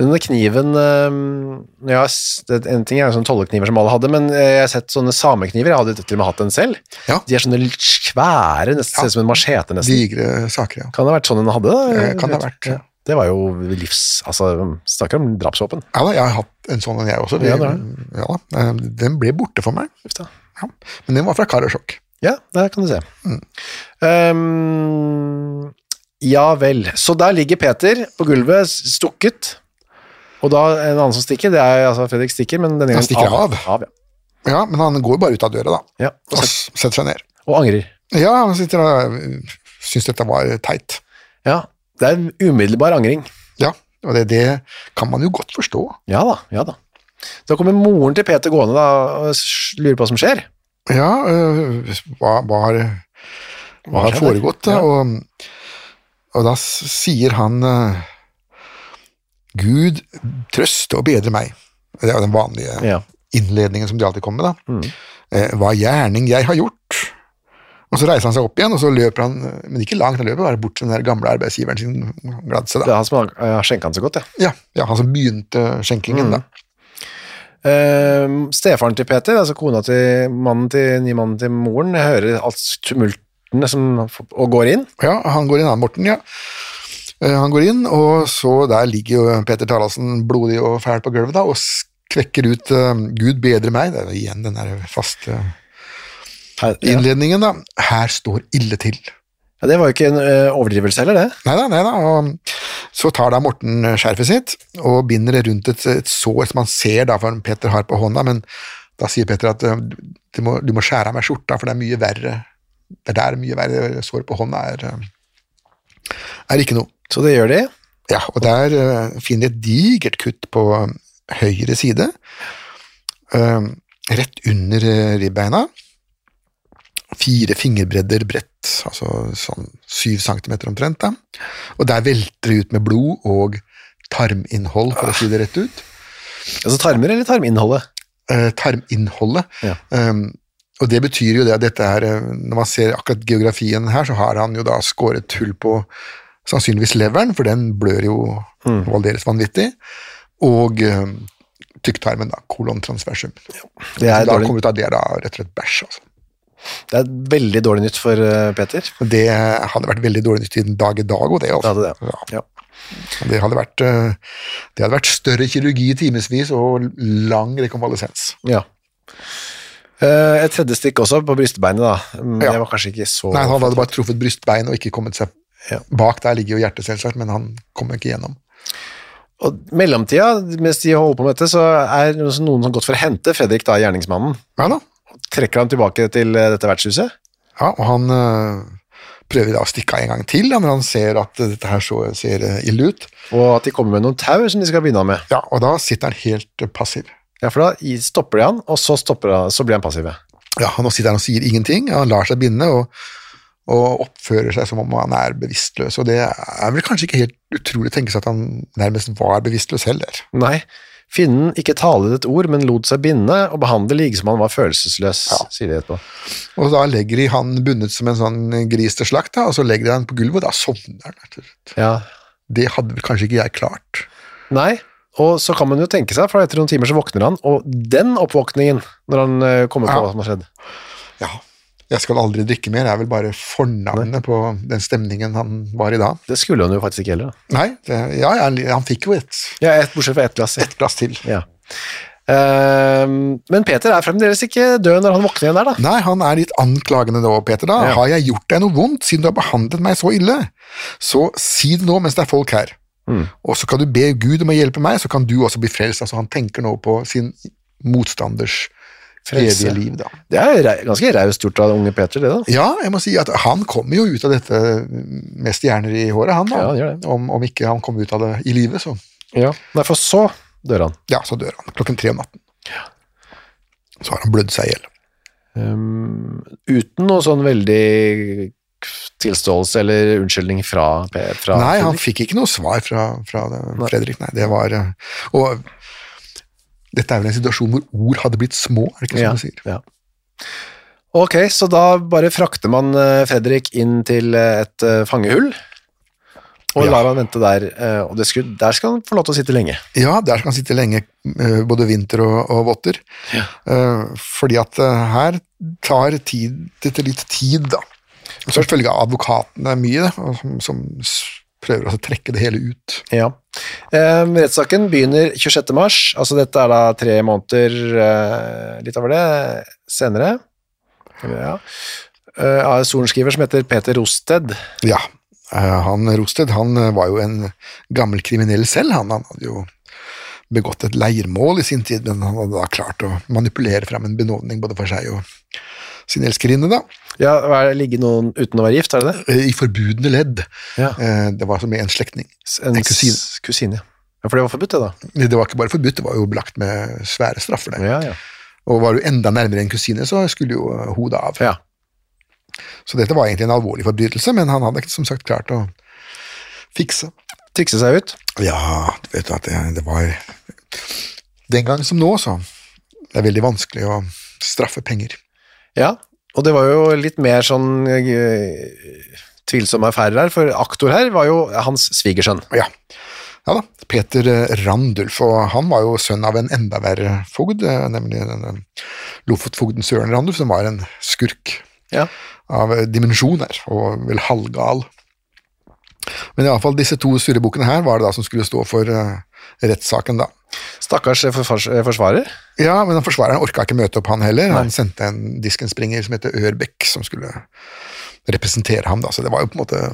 S2: Denne kniven eh, ja, s- det, En ting er jo sånne tollekniver som alle hadde, men eh, jeg har sett sånne samekniver. Jeg hadde til og med hatt en selv.
S3: Ja.
S2: De er sånne litt svære, nesten ser ut som en machete, nesten.
S3: Digre saker, ja.
S2: Kan det ha vært sånn en hadde? da?
S3: Eh, kan det ha vært, ja.
S2: Det var jo livs... Altså, snakker om drapsvåpen.
S3: Ja da, jeg har hatt en sånn en jeg også. Vi-
S2: Ja, det har
S3: ja da, eh, den ble borte for meg,
S2: Uff da.
S3: ja. men den var fra Karasjok.
S2: Ja, der kan du se. Mm. Ehm, ja vel. Så der ligger Peter på gulvet, s- stukket. Og da en annen som stikker, det er altså Fredrik stikker, men denne gangen
S3: stikker av.
S2: av ja.
S3: Ja, men han går bare ut av døra da,
S2: Ja, og,
S3: og
S2: s-
S3: s- setter seg ned.
S2: og angrer.
S3: Ja, han sitter og syns dette var teit.
S2: Ja, det er en umiddelbar angring.
S3: Ja, og det, det kan man jo godt forstå.
S2: Ja da, ja da. Da kommer moren til Peter
S3: eh,
S2: gående da, og s- lurer på hva som skjer.
S3: Ja, øh, hva var hva har
S2: skjedde?
S3: foregått, da, og, og da s- sier han eh, Gud trøste og bedre meg. Det er jo den vanlige
S2: Ja. Mm.
S3: innledningen som de alltid kommer med, da. Eh, hva gjerning jeg har gjort. Og så reiser han seg opp igjen, og så løper han, eh, men ikke langt, han løper bare bort til den der gamle arbeidsgiveren sin, Gladse,
S2: Det
S3: da.
S2: er han som har- eh, har skjenka han så godt, ja.
S3: Ja, ja, han som begynte
S2: Mm.
S3: skjenkingen, da.
S2: Eh, stefaren til Peter, altså kona til mannen til nye mannen til moren, jeg hører alt tumultene som, og går inn.
S3: Ja, han går inn, han Morten, ja. Eh, Han går inn, og så der ligger jo Peter Taraldsen blodig og fæl på gulvet da, og skvekker ut eh, 'Gud bedre meg'. Det er jo igjen den der faste
S2: Her, ja.
S3: innledningen, da. 'Her står ille til'.
S2: Ja, det var jo ikke en eh, overdrivelse heller, det.
S3: Nei da, nei da. Og så tar da Morten skjerfet sitt og binder det rundt et, et sår som han ser da, for Peter har på hånda, men da sier Peter at eh, du må, du må skjære av meg skjorta, for det er mye verre. Det der er mye verre. Sår på hånda er, eh, er ikke noe.
S2: Så det gjør de.
S3: Ja, og der eh, finner de et digert kutt på eh, høyre side, eh, rett under eh, ribbeina. Fire fingerbredder bredt, altså sånn syv centimeter omtrent. Da. Og der velter det ut med blod og tarminnhold, for å si det rett ut.
S2: Altså tarmer eller tarminnholdet?
S3: Eh, tarminnholdet.
S2: Ja.
S3: Um, og det betyr jo det at dette er eh, Når man ser akkurat geografien her, så har han jo da skåret hull på sannsynligvis leveren, for den blør jo
S2: Mm.
S3: aldeles vanvittig, og eh, tykktarmen, da, kolon transversum.
S2: Det
S3: Så
S2: er,
S3: da
S2: dårlig,
S3: kommer det ut av det er da rett og slett bæsj, altså.
S2: det er veldig dårlig nytt for eh, Peter.
S3: Og Det hadde vært veldig dårlig nytt i den dag i dag, og det, altså.
S2: Det hadde det, ja.
S3: Ja. Det hadde vært, eh, det hadde vært større kirurgi i timevis og lang rekonvalesens.
S2: Ja. Eh, et tredje stikk også på brystbeinet, da. Men
S3: Ja.
S2: Det var kanskje ikke så
S3: Nei, han hadde bare truffet brystbein og ikke kommet seg
S2: Ja.
S3: Bak der ligger jo hjertet, selvsagt, men han kom ikke gjennom.
S2: Og mellomtida, mens de holder på med dette, så er det også noen som gått for å hente Fredrik, da, gjerningsmannen.
S3: Ja da.
S2: Trekker han tilbake til eh, dette vertshuset?
S3: Ja, og han øh, prøver da å stikke av en gang til, da, når han ser at øh, dette her så ser øh, ille ut.
S2: Og at de kommer med noen tau som de skal begynne med.
S3: Ja, og da sitter han helt øh, passiv.
S2: Ja, for da i- stopper de han, og så, stopper han, så blir han passive.
S3: Ja, Han sitter han og sier ingenting, han lar seg binde og, og oppfører seg som om han er bevisstløs. Og det er vel kanskje ikke helt utrolig å tenke seg at han nærmest var bevisstløs heller.
S2: Nei, finnen ikke talet et ord, men lot seg binde og behandle like som han var følelsesløs, sier de etterpå.
S3: Og da legger de han bundet som en sånn gris til slakt, da, og så legger de han på gulvet, og da sovner han. rett og slett.
S2: Ja.
S3: Det hadde vel kanskje ikke jeg klart.
S2: Nei, og så kan man jo tenke seg, for etter noen timer så våkner han, og den oppvåkningen, når han eh, kommer på
S3: Ja.
S2: hva som har skjedd.
S3: Ja, jeg skal aldri drikke mer, det er vel bare fornavnet på den stemningen han var i da.
S2: Det skulle han jo faktisk ikke heller. da.
S3: Nei, det, ja, ja, han fikk jo et
S2: Ja, et, bortsett fra ett glass. ja.
S3: glass til.
S2: Ja. Ehm, men Peter er fremdeles ikke død når han våkner igjen der, da.
S3: Nei, han er litt anklagende nå, Peter, da.
S2: Ja.
S3: Har jeg gjort deg noe vondt siden du har behandlet meg så ille? Så si det nå mens det er folk her.
S2: Mm.
S3: Og så kan du be Gud om å hjelpe meg, så kan du også bli frelst. Altså, han tenker nå på sin motstanders
S2: Frelse.
S3: evige liv, da.
S2: Det er jo rei- ganske raust gjort av unge Peter, det, da.
S3: Ja, jeg må si at han kommer jo ut av dette med stjerner i håret, han da.
S2: Ja, han gjør det.
S3: Om, om ikke han kom ut av det i livet, så
S2: Ja. Nei, for så dør han.
S3: Ja, så dør han klokken tre om natten. Så har han blødd seg i hjel.
S2: Ehm, uten noe sånn veldig tilståelse eller unnskyldning fra, Pe- fra
S3: Nei, han
S2: Fredrik.
S3: fikk ikke noe svar fra, fra det- Fredrik. Nei, det var eh, Og dette er vel en situasjon hvor ord hadde blitt små, er det ikke
S2: ja,
S3: sånn du sier?
S2: ja. Ok, så da bare frakter man eh, Fredrik inn til eh, et eh, fangehull, og
S3: Ja.
S2: lar han vente der, eh, og det skulle, der skal han få lov til å sitte lenge.
S3: Ja, der skal han sitte lenge, eh, både vinter og, og votter. Eh, Fordi at eh, her tar tid, dette litt tid, da. Som følge av advokatene mye, da, og som, som s- prøver å trekke det hele ut.
S2: Ja. Eh, rettssaken begynner 26. mars, altså dette er da tre måneder, eh, litt over det, senere. Ja. Eh, av en sorenskriver som heter Peter Rosted.
S3: Ja, eh, han Rosted han eh, var jo en gammel kriminell selv. Han, han hadde jo begått et leirmål i sin tid, men han hadde da klart å manipulere fram en benådning både for seg og sin elskerinne, da.
S2: Ja, hva er det ligge noen uten å være gift, er det det?
S3: Eh, I forbudne ledd.
S2: Ja.
S3: Eh, Det var som med en slektning.
S2: S- En,
S3: En kusine.
S2: s- kusine, ja. ja. For det var forbudt, det da.
S3: Det var ikke bare forbudt, det var jo belagt med svære straffer. Det.
S2: Ja, ja.
S3: Og var du enda nærmere en kusine, så skulle jo eh, hodet av.
S2: Ja.
S3: Så dette var egentlig en alvorlig forbrytelse, men han hadde ikke som sagt klart å fikse.
S2: Trikse seg ut.
S3: Ja, du vet at det, det var Den gang som nå, så. Det er veldig vanskelig å straffe penger.
S2: Ja, og det var jo litt mer sånn eh, tvilsomme affærer her, for aktor her var jo hans svigersønn.
S3: Ja. ja da. Peter eh, Randulf, og han var jo sønn av en enda verre fogd, eh, nemlig denne Lofotfogden Søren Randulf, som var en skurk
S2: Ja.
S3: av eh, dimensjoner, og vel halvgal. Men iallfall disse to surrebukkene her var det da som skulle stå for eh, rettssaken, da.
S2: Stakkars forfars- eh, forsvarer.
S3: Ja, men han forsvareren orka ikke møte opp han heller. Han sendte en diskenspringer som heter Ørbekk, som skulle representere ham, da. Så det var jo på en måte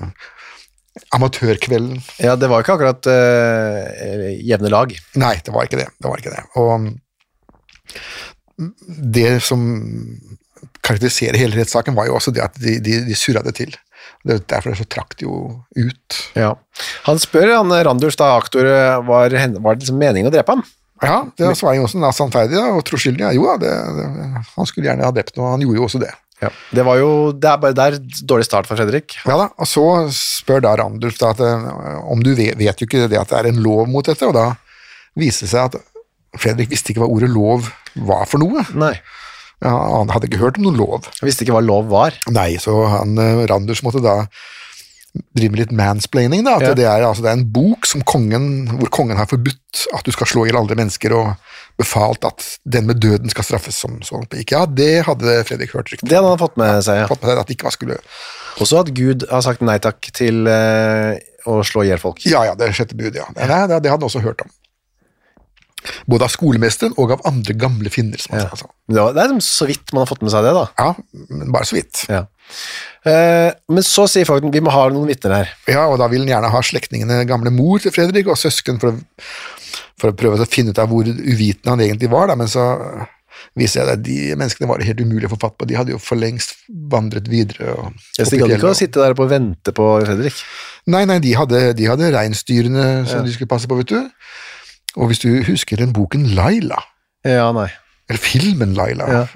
S3: amatørkvelden
S2: Ja, det var ikke akkurat eh, jevne lag.
S3: Nei, det var ikke det. det, var ikke det. Og det som karakteriserer hele rettssaken, var jo også det at de, de, de surra det til. Det er derfor det så trakk det jo ut.
S2: Ja. Han spør han eh, Randulf, da aktor, eh, var, hen- var det liksom meningen å drepe ham?
S3: Ja, det svarer Johnsen da sannferdig da, og troskyldig. Ja, jo, ja, det, det, han skulle gjerne ha drept noe, han gjorde jo også det.
S2: Ja. Det var jo det er, bare- det er dårlig start for Fredrik.
S3: Ja da, Og så spør da Randulf da at, eh, om du vet, vet jo ikke det at det er en lov mot dette, og da viser det seg at Fredrik visste ikke hva ordet lov var for noe.
S2: Nei.
S3: Ja, han hadde ikke hørt om noen lov.
S2: Jeg visste ikke hva lov var.
S3: Nei, så han eh, Randers måtte da drive med litt mansplaining, da. At
S2: Ja.
S3: det, er, altså, det er en bok som kongen, hvor kongen har forbudt at du skal slå i hjel andre mennesker, og befalt at den med døden skal straffes som sånn. Ja, det hadde Fredrik hørt rykte.
S2: Det hadde han fått med seg. ja.
S3: Fått med seg at det ikke var skulle
S2: Også at Gud har sagt nei takk til eh, å slå i hjel folk.
S3: Ja ja, det sjette budet, ja. Nei, det, det hadde han også hørt om. Både av skolemesteren og av andre gamle finner, som han
S2: Ja.
S3: sa. altså.
S2: Men Det, var, det er liksom så vidt man har fått med seg det, da.
S3: Ja, men bare så vidt.
S2: Ja. Eh, men så sier fogden vi må ha noen vitner her.
S3: Ja, og da vil han gjerne ha slektingene gamle mor til Fredrik og søsken for å, for å prøve å finne ut av hvor uvitende han egentlig var, da, men så viser jeg deg at de menneskene var det helt umulig å få fatt på, de hadde jo for lengst vandret videre. Og,
S2: Jeg
S3: opp i
S2: gadd ikke
S3: fjellet,
S2: å sitte der oppe og vente på Fredrik.
S3: og- Nei, nei, de hadde, de hadde reinsdyrene som de skulle passe på, vet du. Og hvis du husker den boken Laila,
S2: Ja, nei.
S3: eller filmen Laila,
S2: Ja.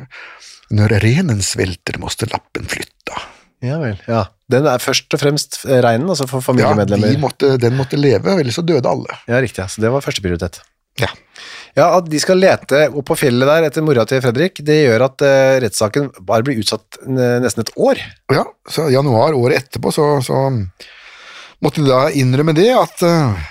S3: når renen svelter, måste lappen flytta.
S2: Ja vel. Ja. Den er først og fremst eh, reinen, altså for
S3: Ja,
S2: familiemedlemmer.
S3: de
S2: Ja,
S3: måtte, den måtte leve, ellers så døde alle.
S2: riktig. ja. Så det var første prioritet.
S3: Ja.
S2: Ja, At de skal lete opp på fjellet der etter mora til Fredrik, det gjør at eh, rettssaken bare blir utsatt eh, nesten et år.
S3: Ja, så i januar året etterpå så, så måtte de da innrømme det at eh,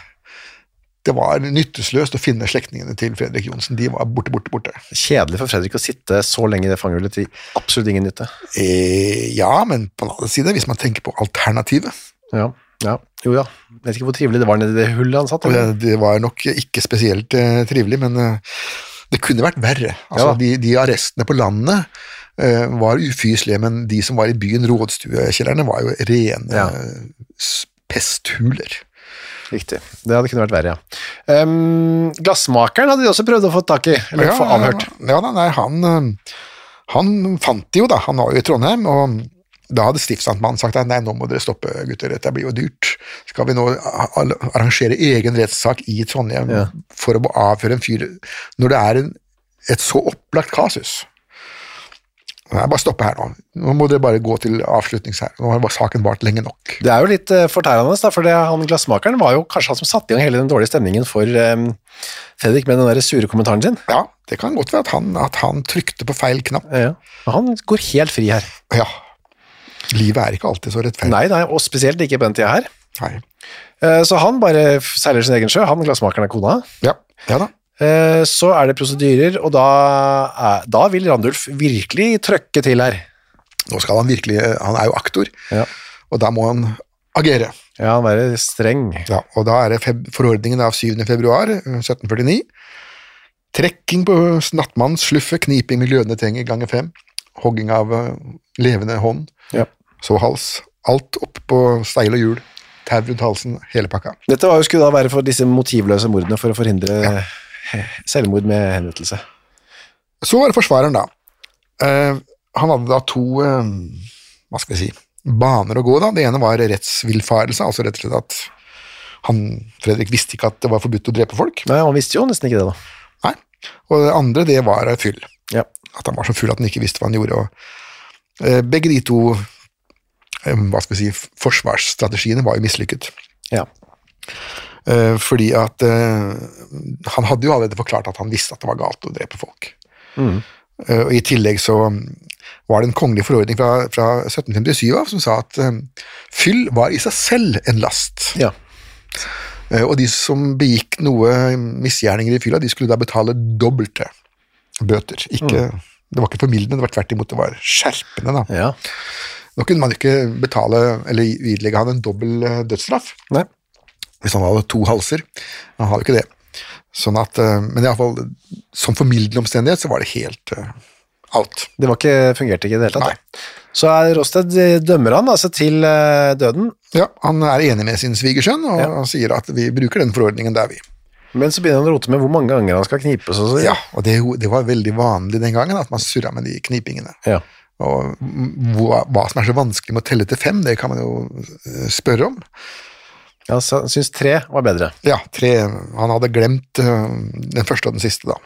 S3: det var nyttesløst å finne slektningene til Fredrik Johnsen. De var borte, borte, borte.
S2: Kjedelig for Fredrik å sitte så lenge i det fangehullet til absolutt ingen nytte.
S3: Eh, ja, men på den andre side, hvis man tenker på alternativet
S2: Ja, ja. Jo ja. Jeg vet ikke hvor trivelig det var nede i det hullet han satt.
S3: og det,
S2: eller?
S3: det var nok ikke spesielt eh, trivelig, men eh, det kunne vært verre.
S2: Ja.
S3: Altså, de, de arrestene på landet eh, var ufyselige, men de som var i byen, rådstuekjellerne, var jo rene
S2: Ja.
S3: eh, s- pesthuler.
S2: Riktig. Det hadde kunne vært verre, ja. Ehm, glassmakeren hadde de også prøvd å få tak i, eller få avhørt.
S3: Ja, da, nei, han, eh, han fant det jo, da. Han var jo i Trondheim, og da hadde stiftsamtmannen sagt at nei, nå må dere stoppe, gutter, dette blir jo dyrt. Skal vi nå a- a- arrangere egen rettssak i Trondheim
S2: Ja.
S3: for å avføre en fyr, når det er en, et så opplagt kasus? Nei, bare stoppe her nå. Nå må dere bare gå til avslutnings her. Nå har bare saken vart lenge nok.
S2: Det er jo litt eh, fortærende, da, for det, han glassmakeren var jo kanskje han som satte i gang hele den dårlige stemningen for ehm, Fredrik med den der sure kommentaren sin.
S3: Ja, det kan godt være at han, at han trykte på feil knapp.
S2: Ja, ja. Og Han går helt fri her.
S3: Ja. Livet er ikke alltid så rettferdig.
S2: Nei, nei, og spesielt ikke på den tida her.
S3: Nei.
S2: Eh, Så han bare f- seiler sin egen sjø, han glassmakeren er kona.
S3: Ja, ja da.
S2: Eh, Så er det prosedyrer, og da, er, da vil Randulf virkelig trøkke til her.
S3: Nå skal han virkelig Han er jo aktor,
S2: Ja.
S3: og da må han agere.
S2: Ja, han være streng.
S3: Ja, og da er det feb forordningen av 7. februar eh, 1749. Trekking på nattmannens sluffe, kniping med glødende tenger ganger fem. Hogging av eh, levende hånd,
S2: Ja.
S3: så hals. Alt opp på steil og hjul. Tau rundt halsen, hele pakka.
S2: Dette var jo skulle da være for disse motivløse mordene for å forhindre selvmord med henrettelse.
S3: Så var det forsvareren, da. Eh, han hadde da to eh, hva skal vi si, baner å gå. da. Det ene var rettsvillfarelse, altså rett og slett at han, Fredrik visste ikke at det var forbudt å drepe folk.
S2: Nei, han visste jo nesten ikke det, da.
S3: Nei. Og det andre, det var eh, fyll.
S2: Ja.
S3: At han var så full at han ikke visste hva han gjorde. Og, eh, begge de to eh, hva skal vi si, forsvarsstrategiene var jo mislykket.
S2: Ja.
S3: Eh, fordi at eh, han hadde jo allerede forklart at han visste at det var galt å drepe folk. Eh, og I tillegg så var det en kongelig forordning fra, fra 1757 av som sa at eh, fyll var i seg selv en last.
S2: ja.
S3: Eh, og de som begikk noe misgjerninger i fylla, de skulle da betale dobbelte bøter. Ikke, Det var ikke formildende, det var tvert imot, det var skjerpende. da.
S2: ja.
S3: Nå kunne man ikke betale, eller ilegge han en dobbel eh, dødsstraff
S2: Nei.
S3: hvis han hadde to halser. Han har jo ikke det. Sånn at, eh, men iallfall som formildende omstendighet så var det helt eh, out.
S2: Det var ikke, fungerte ikke i det hele tatt. da. Så er Rosted dømmer han altså til eh, døden,
S3: Ja, Han er enig med sin svigersønn og
S2: Ja.
S3: han sier at vi bruker den forordningen der, vi.
S2: men så begynner han å rote med hvor mange ganger han skal knipes. Og så,
S3: Ja, og det, det var veldig vanlig den gangen at man surra med de knipingene.
S2: Ja.
S3: Og hva, hva som er så vanskelig med å telle til fem, det kan man jo eh, spørre om.
S2: Ja, så han syns tre var bedre.
S3: Ja, tre, Han hadde glemt eh, den første og den siste, da.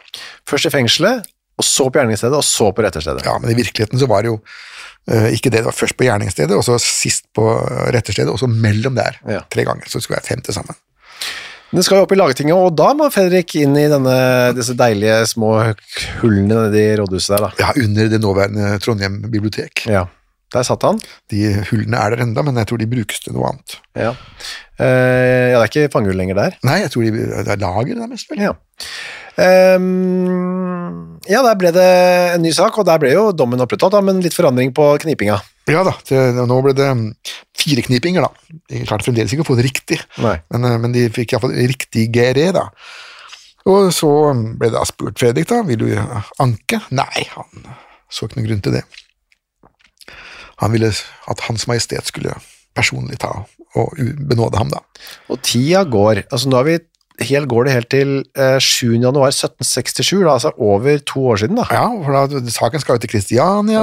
S2: Først i fengselet, og så på gjerningsstedet, og så på retterstedet.
S3: Ja, men i virkeligheten så var det jo eh, ikke det. Det var først på gjerningsstedet, og så sist på eh, retterstedet, og så mellom der.
S2: Ja.
S3: Tre ganger. Så det skulle være fem til sammen.
S2: Det skal jo opp i lagtinget, og da må Fredrik inn i denne, disse deilige små hullene nedi rådhuset der, da.
S3: Ja, under det nåværende Trondheim bibliotek.
S2: Ja. Der satt han.
S3: De hullene er der enda, men jeg tror de brukes til noe annet.
S2: Ja, eh, ja det er ikke fangehull lenger der.
S3: Nei, jeg tror de, det er lager, det er mest vel.
S2: Ja. Ehm, ja, der ble det en ny sak, og der ble jo dommen opprettholdt, da, men litt forandring på knipinga.
S3: Ja da, det, nå ble det mm, fire knipinger, da. De klarte fremdeles ikke å få det riktig,
S2: Nei.
S3: men, eh, men de fikk iallfall riktig GRE, da. Og så ble det da spurt Fredrik, da, vil du eh, anke? Nei, han så ikke noen grunn til det. Han ville at Hans Majestet skulle personlig ta og u- benåde ham, da.
S2: Og tida går. Altså, nå er vi helt, går det helt til eh, 7. januar 1767, da, altså over to år siden. da.
S3: Ja, for da, saken skal jo til Kristiania,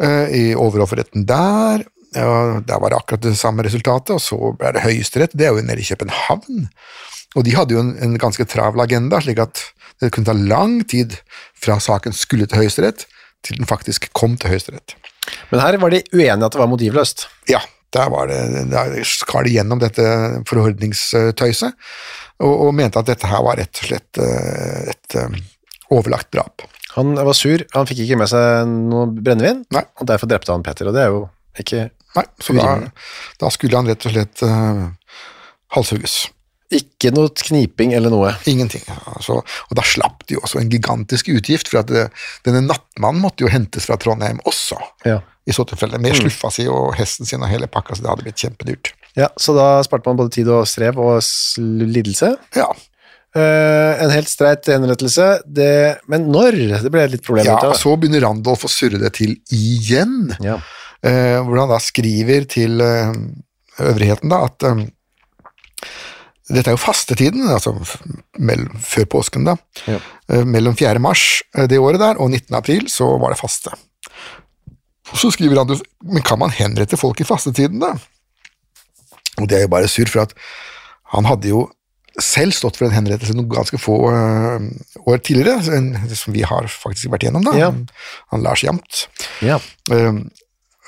S3: eh, i overofferretten der. Ja, der var det akkurat det samme resultatet, og så ble det Høyesterett. Det er jo nede i København. Og de hadde jo en, en ganske travel agenda, slik at det kunne ta lang tid fra saken skulle til Høyesterett, til den faktisk kom til Høyesterett.
S2: Men her var de uenige at det var motivløst.
S3: Ja, der, var det, der skar de gjennom dette forordningstøyset, og, og mente at dette her var rett og slett eh, et eh, overlagt drap.
S2: Han var sur, han fikk ikke med seg noe brennevin,
S3: Nei.
S2: og derfor drepte han Petter, og det er jo ikke
S3: Nei, så da,
S2: Urimelig.
S3: da skulle han rett og slett eh, halshugges.
S2: Ikke noe kniping eller noe.
S3: Ingenting. Altså, og da slapp de jo også en gigantisk utgift, for at det, denne nattmannen måtte jo hentes fra Trondheim også,
S2: Ja.
S3: i så tilfelle, med sluffa si og hesten sin og hele pakka, så det hadde blitt kjempedyrt.
S2: ja, Så da sparte man både tid og strev og s- lidelse.
S3: Ja,
S2: Eh, en helt streit henrettelse, det, men når? Det ble litt problem.
S3: ja
S2: ut av
S3: og
S2: det.
S3: så begynner Randolph å surre det til igjen,
S2: Ja.
S3: eh, hvor han da skriver til eh, øvrigheten da, at eh, dette er jo fastetiden, altså f- mellom, før påsken da,
S2: Ja.
S3: Eh, mellom 4. mars eh, det året der og 19. april så var det faste. Så skriver han, men kan man henrette folk i fastetiden da? Og det er jo bare sur, for at han hadde jo selv stått for en henrettelse noen ganske få eh, år tidligere, en- som vi har faktisk vært igjennom da,
S2: Ja.
S3: han Lars Jamt.
S2: Ja.
S3: Ehm,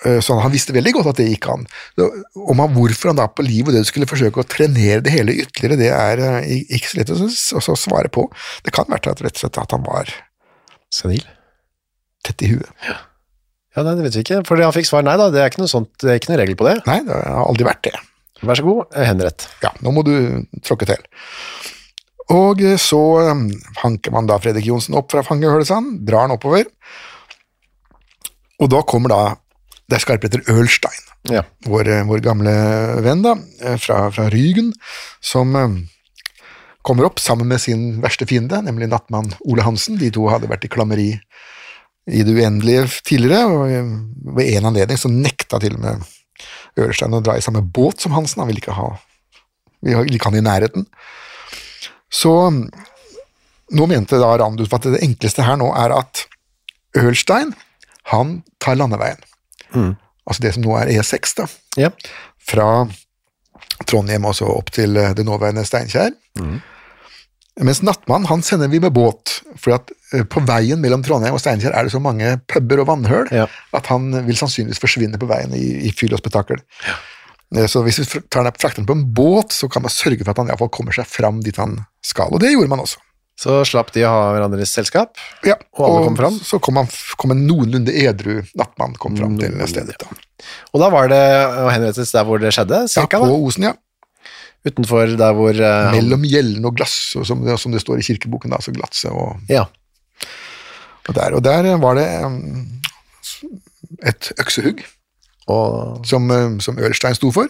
S3: eh, Så han visste veldig godt at det gikk an. Så Om han, hvorfor han da på liv og død skulle forsøke å trenere det hele ytterligere, det er eh, i- ikke så lett å s- å så svare på. Det kan være at, rett og slett at han var
S2: Senil?
S3: tett i huet.
S2: Ja, nei, det vet vi ikke. Fordi han fikk svar nei, da. Det er ikke noe, sånt, det er ikke noe regel på det.
S3: Nei, det har aldri vært det.
S2: Vær så god, eh, henrett.
S3: Ja, nå må du tråkke til. Og eh, så eh, hanker man da Fredrik Johnsen opp fra fangehølet, sa han, sånn. drar han oppover, og da kommer da Det er skarpretter Ølstein.
S2: Ja.
S3: vår, eh, vår gamle venn da, eh, fra, fra Rygen, som eh, kommer opp sammen med sin verste fiende, nemlig nattmann Ole Hansen. De to hadde vært i klammeri i det uendelige tidligere, og eh, ved en anledning så nekta til og med Ørstein å dra i samme båt som Hansen, han ville ikke ha vi har- ville ikke ha han i nærheten. Så mm, nå mente da Randulf at det enkleste her nå er at Ørstein, han tar landeveien. Altså det som nå er E6, da
S2: ja.
S3: fra Trondheim
S2: Mm.
S3: og så opp til eh, det nåværende Steinkjer. Mens Nattmann han sender vi med båt Fordi at eh, på veien mellom Trondheim og Steinkjer er det så mange puber og vannhøl
S2: Ja.
S3: at han vil sannsynligvis forsvinne på veien i, i fyll og spetakkel. Eh, Så hvis vi fr- tar den, frakter den på en båt, så kan man sørge for at han i hvert fall kommer seg fram dit han skal, og det gjorde man også.
S2: Så slapp de å ha hverandres selskap.
S3: Ja,
S2: Og alle kom fram?
S3: Så kom, han, f- kom en noenlunde edru nattmann kom fram til
S2: Noenlunde,
S3: stedet. Da.
S2: Og da var det å henrettes der hvor det skjedde,
S3: Ja,
S2: cirka,
S3: på
S2: da.
S3: Osen, ja.
S2: Utenfor der hvor eh, han-
S3: Mellom gjellen og glass, og som, det, som det står i kirkeboken, da, så glatse og
S2: Ja.
S3: Og der, og der eh, var det um, et øksehugg
S2: Og
S3: som, um, som Ørstein sto for,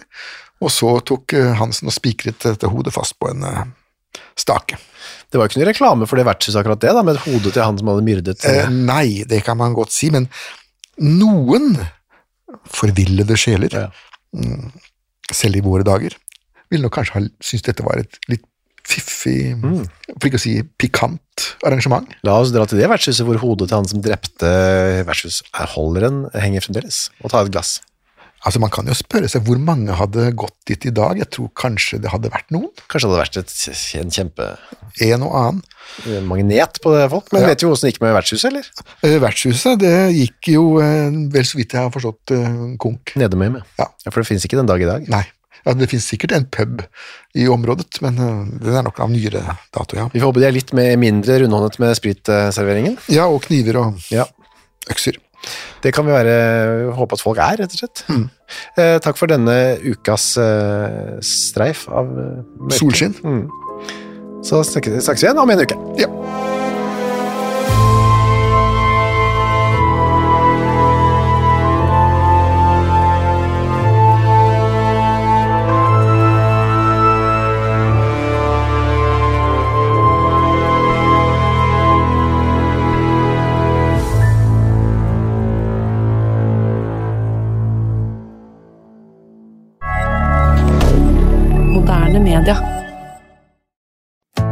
S3: og så tok uh, Hansen og spikret dette hodet fast på en uh, stake.
S2: det var jo ikke noe reklame for det vertshuset akkurat det, da, med hodet til han som hadde myrdet.
S3: Eh, nei, det kan man godt si, men noen forvillede sjeler,
S2: Ja.
S3: mm, selv i våre dager, ville nok kanskje ha syntes dette var et litt fiffig, for ikke å si pikant arrangement.
S2: La oss dra til det vertshuset hvor hodet til han som drepte eh, vertshusholderen henger fremdeles, og ta et glass.
S3: Altså, Man kan jo spørre seg hvor mange hadde gått dit i dag. Jeg tror kanskje det hadde vært noen.
S2: Kanskje det hadde vært et, en kjempemagnet
S3: En og annen.
S2: på det folk, men
S3: Ja.
S2: vet du åssen det gikk med vertshuset, eller?
S3: Eh, Vertshuset det gikk jo eh, vel så vidt jeg har forstått eh, konk.
S2: Nedemøyme.
S3: Ja.
S2: ja, for det finnes ikke den dag i dag.
S3: Nei, ja, det finnes sikkert en pub i området, men eh, den er nok av nyere dato, ja.
S2: Vi får håpe de er litt mer, mindre rundhåndet med spritserveringen.
S3: Ja, og kniver og
S2: Ja.
S3: økser.
S2: Det kan vi være, håpe at folk er, rett og slett. Eh, takk for denne ukas eh, streif av eh, mørke.
S3: Solskinn.
S2: Mm. Så snakkes snakkes vi igjen om en uke.
S3: Ja.
S4: Moderne media.